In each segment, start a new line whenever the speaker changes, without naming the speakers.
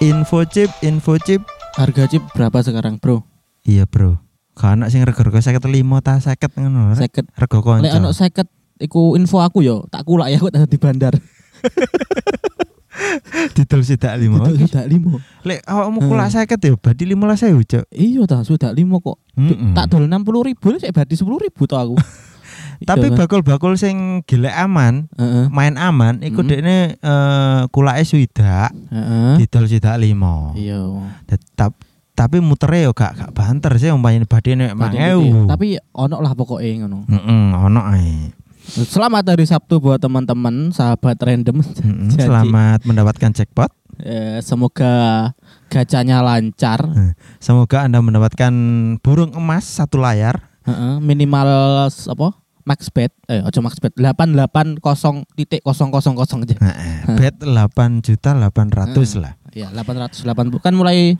info chip, info chip.
Harga chip berapa sekarang, Bro?
Iya, Bro. Kan anak sing rego-rego 55 ta 50 ngono. rek.
Seket.
Rego konco.
Lek ono seket iku info aku yo, tak kulak ya aku tak di bandar.
Didol sidak 5.
Tidak limo.
Lek awakmu
Hmm.
kula 50 ya berarti 15 ewu, Cuk. Hmm.
Iya ta, sudah limo kok.
Mm-mm.
Tak dol 60 ribu, saya badi 10 ribu tau aku.
Tapi
Iya kan?
bakul-bakul sing gelek aman,
Heeh,
main aman iku
Mm.
dekne eh, kulake swidak,
heeh.
didol sidak 5.
Iya.
Tetap tapi muternya yo gak gak banter sih umpamane badene nek
Tadi
1000.
gitu ya. iya. Tapi ono lah pokoknya ngono.
Heeh, ono ae.
Selamat hari Sabtu buat teman-teman sahabat random.
Mm-mm,
Jadi,
Selamat mendapatkan jackpot.
eh, semoga gacanya lancar.
Eh, Semoga Anda mendapatkan burung emas satu layar.
Heeh, minimal s- apa? Max bet, eh ojo max bet, 880.000 aja.
Heeh, Eh, bet 8 juta 800 lah.
Ya, 880 kan mulai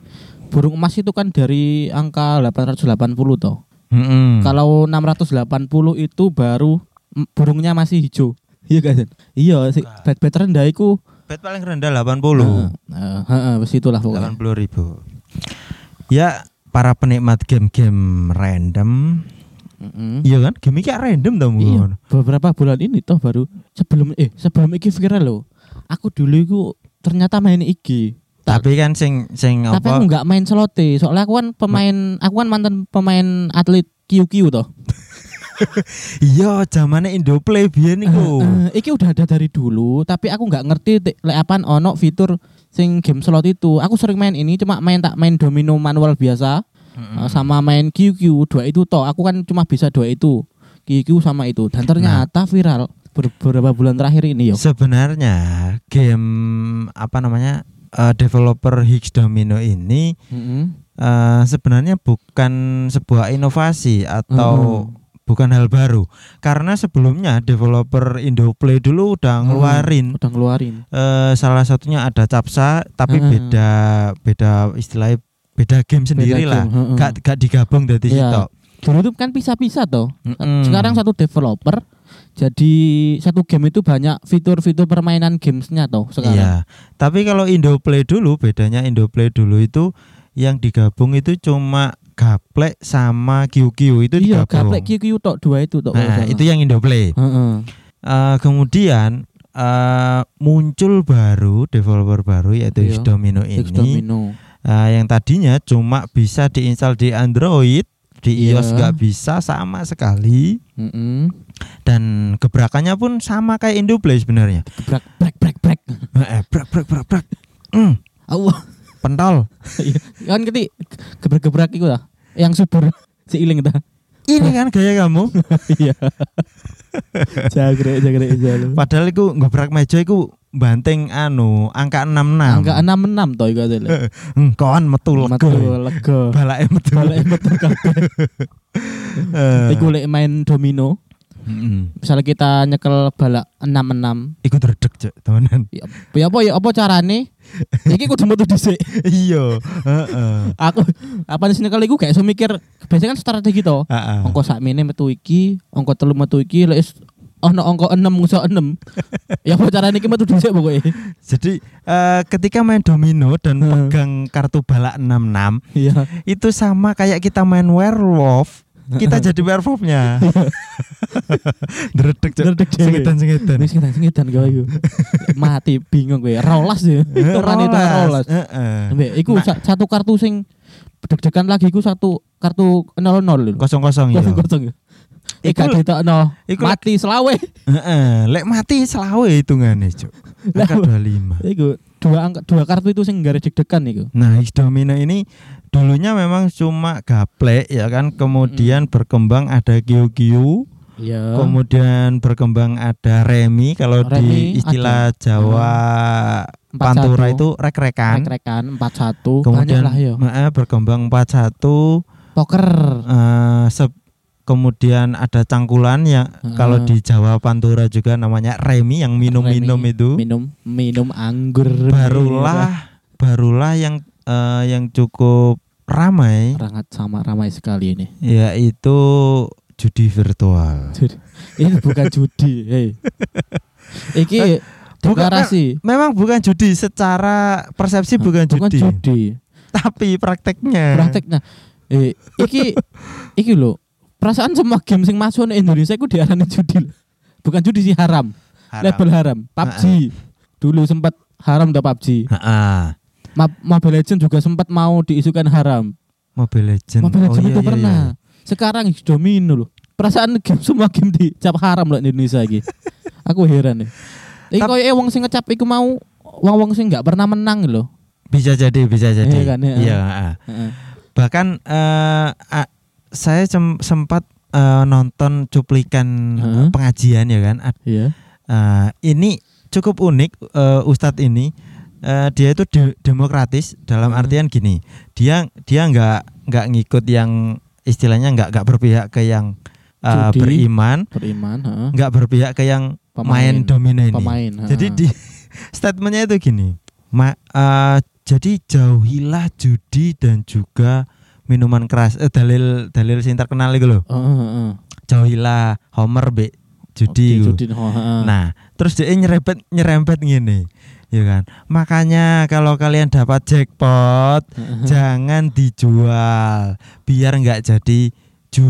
burung emas itu kan dari angka 880 toh.
Mm-mm.
Kalau 680 itu baru mm, burungnya masih hijau. Iya kan? Zen? Iya, sih bet bet rendah iku.
bet paling rendah
Hmm.
80.
Heeh, Nah, eh, heeh, wis itulah pokoknya.
80 ribu. Ya para penikmat game-game random,
Heeh.
iya kan? Game iki random tau Bu.
Iya, beberapa bulan ini toh baru sebelum eh sebelum iki viral loh. Aku dulu itu ternyata main IG. Tak-
Tapi kan sing sing
Tapi aku
apa?
nggak main selote, soalnya aku kan pemain, aku kan mantan pemain atlet QQ toh.
Iya, zamane Indoplay biyen iku.
Eh, iki udah ada dari dulu, tapi aku nggak ngerti te- lek apaan ono fitur sing game slot itu. Aku sering main ini, cuma main tak main domino manual biasa
Hmm.
eh, sama main QQ dua itu toh. Aku kan cuma bisa dua itu QQ sama itu.
Nah.
Dan ternyata viral beberapa bulan terakhir ini yo.
Sebenarnya game apa namanya? eh, developer Higgs Domino ini
Mm-mm.
eh, sebenarnya bukan sebuah inovasi atau
Mm.
bukan hal baru karena sebelumnya developer Indoplay dulu udah ngeluarin
udah ngeluarin.
eh, salah satunya ada capsa tapi
Mm.
beda beda istilahnya beda game sendiri
Beda
lah
game, mm-mm.
gak gak digabung dari
Iya.
situ
Dulu itu kan pisah-pisah toh.
Mm-mm.
Sekarang satu developer jadi satu game itu banyak fitur-fitur permainan gamesnya toh
Iya.
sekarang.
tapi kalau Indoplay dulu bedanya Indoplay dulu itu yang digabung itu cuma gaplek sama QQ itu
Iya,
digabung
gaplek QQ tok dua itu tok. kalau
nah,
salah.
itu yang Indoplay
Heeh.
Eh, kemudian eh, muncul baru developer baru yaitu
Iya.
Higgs Domino ini
Fix domino.
Eh, yang tadinya cuma bisa diinstal di Android di
Iya.
iOS nggak bisa sama sekali
Heeh.
dan gebrakannya pun sama kayak Indoplay sebenarnya
Brek brek brek brek.
Eh, eh, brak brak brak brak Mm,
Allah.
pentol
Iya. kan keti gebrak-gebrak iku ta. Yang subur si iling ta.
ini kan gaya kamu
Iya. Jagre iya. jagre jalu.
padahal iku gebrak meja iku banting anu angka 66
Angka 66 to iku asli.
Hmm, kawan metu
Metu
lega
lega.
balake metu
Balik metu kabeh.
Eh,
Iku lek main domino,
mm-mm.
misalnya kita nyekel balak 66.
iku terdek cok temenan
Ya, ya apa ya apa carane? Iki kudu metu dhisik.
iya heeh
Aku apa sih nyekel iku gak iso mikir. Biasanya kan strategi to.
Heeh.
Ongko sakmene metu iki, ongko telu metu iki, lek is- ono ongko 6 iso 6. ya apa carane iki metu dhisik pokoke.
Jadi eh, ketika main domino dan
Hmm.
pegang kartu balak 66
Iya.
itu sama kayak kita main werewolf, kita jadi werewolfnya. Dredeg eh,
Dredeg dhewe.
sengetan-sengetan.
Wis kita singetan kowe iku. Mati bingung kowe. Rolas ya. Hitungan itu rolas. Mbek iku
Nah.
sa- satu kartu sing deg-degan lagi iku satu kartu 00 lho.
Kosong-kosong ya.
Kosong-kosong.
Iku-
Iku ditokno.
iku-
Mati selawe.
Heeh, lek mati selawe hitungane, Cuk.
Lah.
Angka 25.
Iku dua angka, dua kartu itu sing garis deg-degan iku.
Nah, Higgs domino ini dulunya memang cuma gaplek ya kan,
Hmm.
kemudian berkembang ada kiu-kiu.
Iya.
Kemudian berkembang ada remi kalau
Remi
di istilah Jawa
Empat
Pantura
satu. kan,
itu rek-rekan.
Rek-rekan 41
Kemudian
banyak lah ya.
eh, berkembang 41
Poker.
eh, se- kemudian ada cangkulan yang
Heeh.
kalau di Jawa Pantura juga namanya remi yang minum-minum
Remi.
itu.
minum minum anggur merah.
Barulah barulah yang eh, yang cukup ramai
Sangat sama ramai sekali ini
yaitu judi virtual.
ini bukan judi hey. iki deklarasi.
me- memang Eh, bukan judi secara persepsi bukan,
Bukan
judi,
judi.
tapi prakteknya.
Prakteknya. Eh, iki iki lho. Perasaan semua game sing masuk di Indonesia iku diarani judi. lho. Bukan judi sih haram.
Haram.
Label haram. PUBG. Dulu sempat haram dah PUBG.
Heeh.
Ma- Mobile Legends juga sempat mau diisukan haram.
Mobile Legend.
Mobile
Oh,
Legends
iya,
itu
iya,
pernah.
iya.
Sekarang domino loh. Perasaan game semua game dicap haram loh di Indonesia iki. Aku heran nih. Iki
Tap-
koyo wong sing ngecap iku mau wong-wong sing nggak pernah menang loh.
Bisa jadi, bisa jadi.
Iya kan, iya.
heeh.
Heeh.
Bahkan eh, a- saya sem- sempat eh, nonton cuplikan
Heeh.
pengajian ya kan. Ad-
Iya.
eh, ini cukup unik eh, Ustadz ini. Eh, dia itu de- demokratis dalam
Heeh.
artian gini. Dia dia nggak nggak ngikut yang istilahnya nggak nggak berpihak ke yang eh,
Judi.
beriman,
Beriman, heeh.
nggak berpihak ke yang main domino ini.
pemain. heeh.
Jadi di statementnya itu gini, ma, eh, jadi jauhilah judi dan juga minuman keras. Eh, dalil dalil sing terkenal itu loh,
Heeh, heeh.
jauhilah Homer be judi. iku.
Judi, Ah. heeh, heeh.
Nah, terus dia nyerempet nyerempet gini, ya kan? Makanya kalau kalian dapat jackpot,
Heeh.
jangan dijual, biar nggak jadi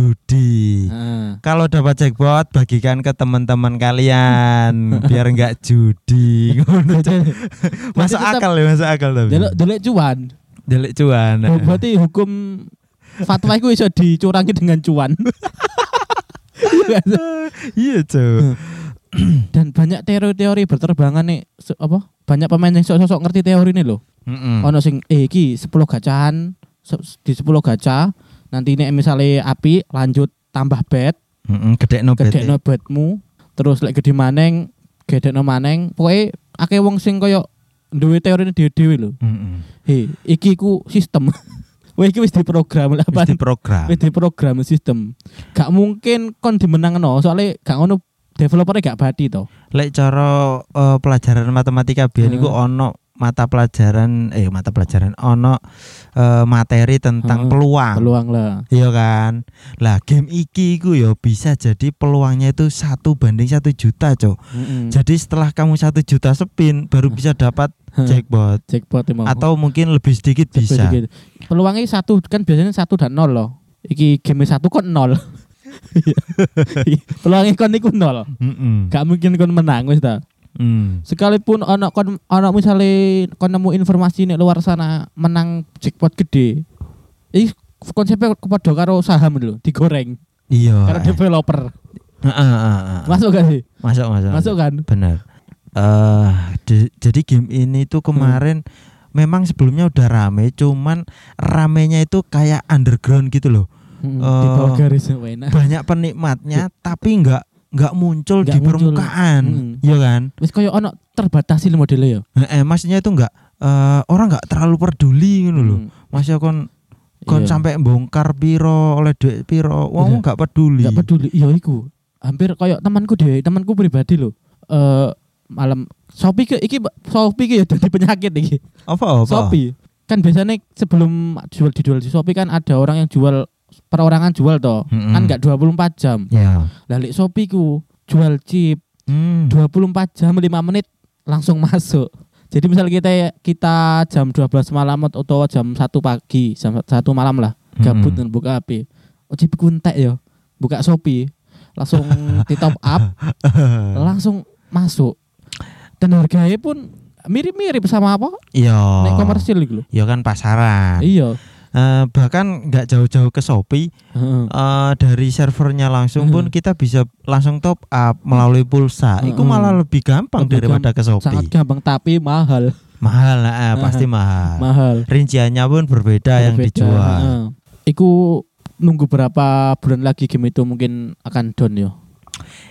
judi.
Heeh.
Kalau dapat jackpot bagikan ke teman-teman kalian biar nggak judi. Ngono, Cok.
Berarti
masuk
tetap-
akal ya, masuk akal tapi.
Delok delok cuan.
Delik cuan.
Oh, Berarti hukum fatwa itu bisa dicurangi dengan cuan. Iya kan?
Iya, Cuk.
dan banyak teori-teori berterbangan nih se- apa banyak pemain yang sok-sok ngerti teori ini loh
Mm-mm.
ono sing eh iki 10 gacahan se- di 10 gacha nanti ini misalnya api lanjut tambah eh. bet
Mm-mm, Gede no
gede
bete.
betmu terus lek gede maneng gede maneng pokoknya akeh wong sing koyo duwe teori ini dewe-dewe loh
Mm-mm.
hei iki ku sistem Wah, iki wis diprogram
Wis
lah apa
diprogram.
wis diprogram sistem gak mungkin kon dimenangno soalnya gak ono developernya gak badi to
Lek cara eh, pelajaran matematika biyen
Heeh.
iku ono mata pelajaran eh mata pelajaran ono eh, materi tentang
Heeh.
peluang.
peluang lah
Iya kan? Lah game iki iku ya bisa jadi peluangnya itu satu banding satu juta, Cuk.
Mm-mm.
Jadi setelah kamu satu juta spin baru bisa dapat
Heh,
jackpot
jackpot emang.
atau mungkin lebih sedikit
Jackpot
bisa.
dikit. Peluangnya satu kan biasanya satu dan nol loh. Iki game satu kon nol. Iya. Peluangnya kon iku nol.
Mm-mm.
Gak mungkin kon menang wis ta.
Mm.
Sekalipun ono kon ono misale kon nemu informasi nek luar sana menang jackpot gede. Iki konsepnya kepada karo saham lho, digoreng
Iya.
karo
eh.
developer.
Ah, ah, ah, ah.
Masuk gak sih?
Masuk, masuk.
Masuk kan?
Benar. Eh, di- jadi game ini tuh
Hmm.
kemarin memang sebelumnya udah rame, cuman ramenya itu kayak underground gitu loh. Eh,
Mm, Di bawah garis enak.
Banyak penikmatnya tapi nggak nggak muncul
Iya. Nggak
di
muncul.
permukaan,
Mm.
iya kan?
Wis koyo ono terbatasi modelnya ya.
Eh, eh, maksudnya itu nggak eh, orang nggak terlalu peduli gitu loh.
Mm,
Masih kon kon
iya.
sampai bongkar piro oleh duit piro wong
Iya.
nggak peduli
nggak peduli iya iku hampir kayak temanku deh temanku pribadi loh eh malam Shopee ke iki Shopee ke ya jadi penyakit iki
apa apa
Shopee kan biasanya sebelum jual dijual di Shopee kan ada orang yang jual perorangan jual toh
Mm-mm.
kan nggak 24 jam
ya
lalik Shopee ku jual chip
hmm.
24 jam 5 menit langsung masuk jadi misal kita kita jam 12 malam atau jam 1 pagi jam 1 malam lah gabut
Mm-mm.
dan buka HP. Ojo kuntek ya. Buka Shopee, langsung di top up, langsung masuk. Dan harganya pun mirip-mirip sama apa?
iya
Nek komersil gitu.
iya kan pasaran
Iya.
Eh, bahkan nggak jauh-jauh ke Shopee
Heeh.
eh, dari servernya langsung pun
Mhm.
kita bisa langsung top up melalui pulsa itu
Mhm.
malah lebih gampang
Lebih
daripada ke
Sangat
Shopee
gampang Nah, tapi mahal,
mahal eh, pasti mahal
mahal.
rinciannya pun berbeda, yang
Berbeda. nah.
dijual
Heeh. Iku nunggu berapa bulan lagi game itu mungkin akan down ya.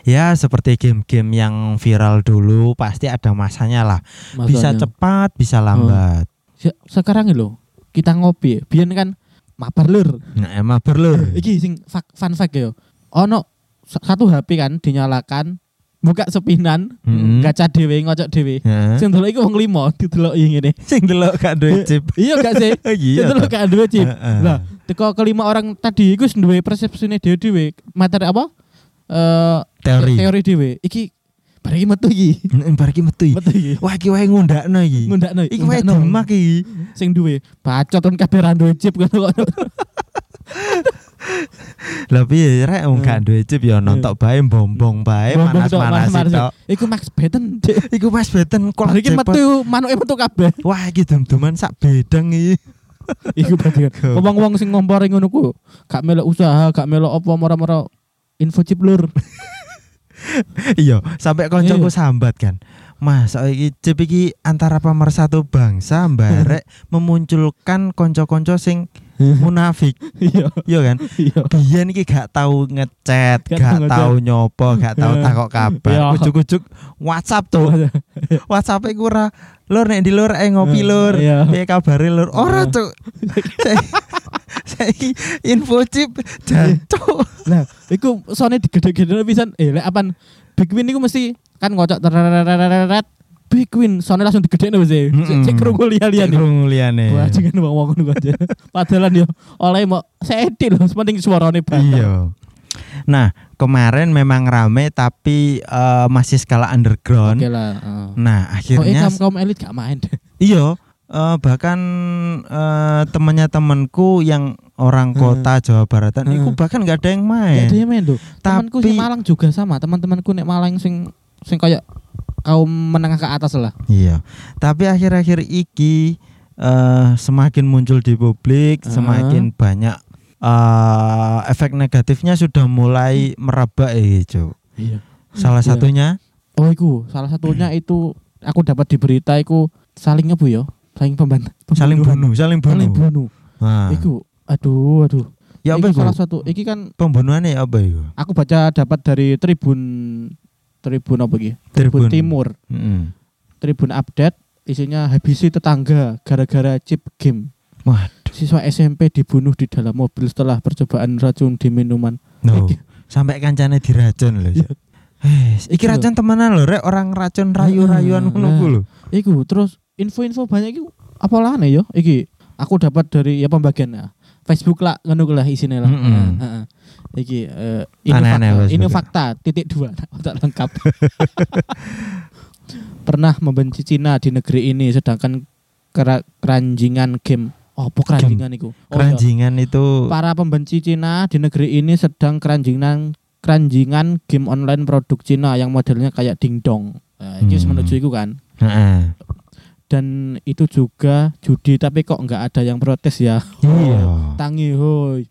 ya seperti game-game yang viral dulu pasti ada masanya lah bisa
Maksudnya.
cepat
Hmm.
bisa lambat
Se- Sekarang loh kita ngopi. Biar kan mabar lur.
nah emang perlu
Eh, Iki sing fak- fun fact ya. Ono sa- satu HP kan dinyalakan, buka sepinan,
Mm-mm.
gacha dhewe ngocok dhewe.
Mm-hmm. Hah?
Sing delok iku wong limo dideloki ngene.
sing delok gak duwe chip
Iya gak sih? Sing
iya toh.
delok gak duwe chip.
Heeh.
Lah, teko kelima orang tadi iku wis duwe persepsine dhewe-dhewe, materi apa? Eh
teori
teori dhewe. Iki Barang iki metu iki.
Bar iki metu. iki.
Metu iki.
Wah iki wae ngundakno iki.
Ngundakno.
Iki wae
ngundakno.
demak iki.
sing duwe bacot kon kabeh ra duwe chip ngono kok.
Lah piye rek wong gak duwe chip ya nontok bae bombong bae
Bombong tok,
panas-panas
panas-panas.
tok.
Iku Max Beten. Cik.
Iku Mas Beten kok
Barang iki metu manuke metu kabeh.
Wah iki dum-duman sak bedeng iki.
Iku berarti kan. Wong-wong sing ngompori ngono ku gak melok usaha, gak melok apa moro-moro info chip lur.
Iya, sampai koncoku sambat kan. Mas, oh, iki chip iki antara pemersatu bangsa mbarek memunculkan konco-konco sing munafik,
Iya,
iya kan?
iya.
Biyen iki gak tau ngechat,
Gak
gak tau
tau
nyopo, gak tau
Iya.
takok
Iya.
kabar. Ujuk-ujuk WhatsApp tuh. WhatsApp iku ora lur nek di lur eh ngopi
Eh,
lur.
iya.
Piye kabare lur? Ora,
Iya.
Cuk. Saya- Saiki info chip jancuk.
Nah, iku sone digede-gede pisan. Eh, lek apan Big Win iku mesti kan ngocok tereret Big Win sone langsung digedekno wis. eh.
Mm-mm.
Cek kerungu liya-liya nih.
Krungu liyane.
Wah, jangan wong-wong ngono aja. Padahal yo oleh mau sedi lho, penting suarane banget.
Iya. Nah, kemarin memang rame tapi eh, masih skala underground.
Oke Oh, lah. heeh.
Nah,
Pokoknya
akhirnya
kaum kaum elit gak main deh.
iya eh, bahkan eh, temannya temanku yang orang kota Jawa Baratan
Heeh.
itu bahkan nggak ada yang
Gak Hmm. ada
main.
yang main tuh. Temanku
Eh. Tapi
sing Malang juga sama. Teman-temanku nek Malang sing sing kayak kaum menengah ke atas lah.
iya. Tapi akhir-akhir iki eh, semakin muncul di publik,
Heeh.
semakin banyak eh, efek negatifnya sudah mulai meraba eh, Cuk.
Iya.
Salah
Iya.
satunya
Oh, iku salah satunya
Hmm.
itu aku dapat di berita iku saling ngebu yo, saling pembantu.
saling bunuh, saling bunuh.
Saling bunuh.
Nah.
Iku aduh aduh.
Ya apa
Iki
iku?
salah satu iki kan
Pembunuhannya ya apa iku?
aku baca dapat dari Tribun Tribun apa iki? Tribun Timur.
Mm-mm.
Tribun update isinya habisi tetangga gara-gara chip game.
Waduh.
Siswa SMP dibunuh di dalam mobil setelah percobaan racun di minuman.
No.
Iki-
Sampai kancane diracun lho. Cuk. Hei, iki
Iya.
racun temenan lho, rek orang racun rayu-rayuan
Nah,
ngono ku
nah.
lho.
Iku terus info-info banyak iku apa lah ya? Iki aku dapat dari ya pembagian ya. Facebook lah ngono ku lah isine lah.
Mm-mm.
Heeh, heeh. Iki eh, ini
Aneh-aneh
fakta, ini
Facebook. ya.
fakta titik dua tak lengkap. Pernah membenci Cina di negeri ini sedangkan kera- keranjingan game. Oh, apa keranjingan iku? Oh, iya.
Keranjingan itu
Para pembenci Cina di negeri ini sedang keranjingan keranjingan game online produk Cina yang modelnya kayak dingdong. Nah, itu
Hmm.
menuju itu kan.
Heeh.
Dan itu juga judi tapi kok nggak ada yang protes ya.
Iya.
Tangi hoi.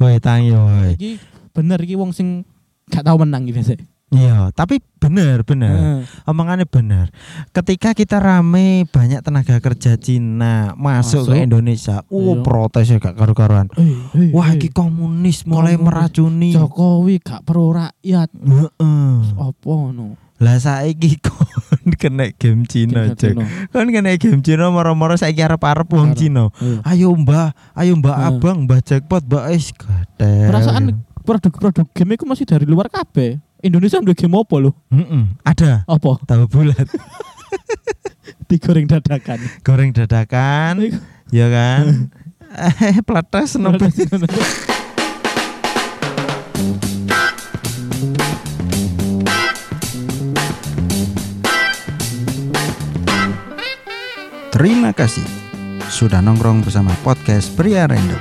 Woi tangi woi.
Iki bener iki wong sing gak tahu menang iki Eh, biasa.
Iya, tapi bener bener.
Heeh.
Omongannya bener. Ketika kita rame banyak tenaga kerja Cina masuk,
Masuk.
ke Indonesia, uh
Iya.
protesnya gak karu-karuan.
Eh, eh,
Wah,
eh.
iki Iya. komunis mulai
Komunis.
meracuni.
Jokowi gak pro rakyat.
Heeh.
Apa no?
Lah saiki kon kena game Cina, Cek. Kan kena game Cina moro-moro saiki arep-arep wong
Arep.
Cina.
Iya.
Ayo Mbah, ayo Mbah
Heeh.
Abang, Mbah Jackpot, Mbah Is gatel.
Perasaan produk-produk game itu masih dari luar kabeh. Indonesia nduwe game apa lho?
Mm-mm, ada
Apa?
tahu bulat,
digoreng dadakan.
goreng dadakan, ya kan? Eh, pelatas nembe.
Terima kasih sudah nongkrong bersama podcast Pria Random.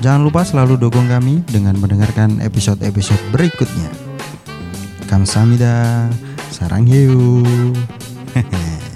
Jangan lupa selalu dukung kami dengan mendengarkan episode-episode berikutnya. Kamsahamnida, sarang hiu. Hehehe.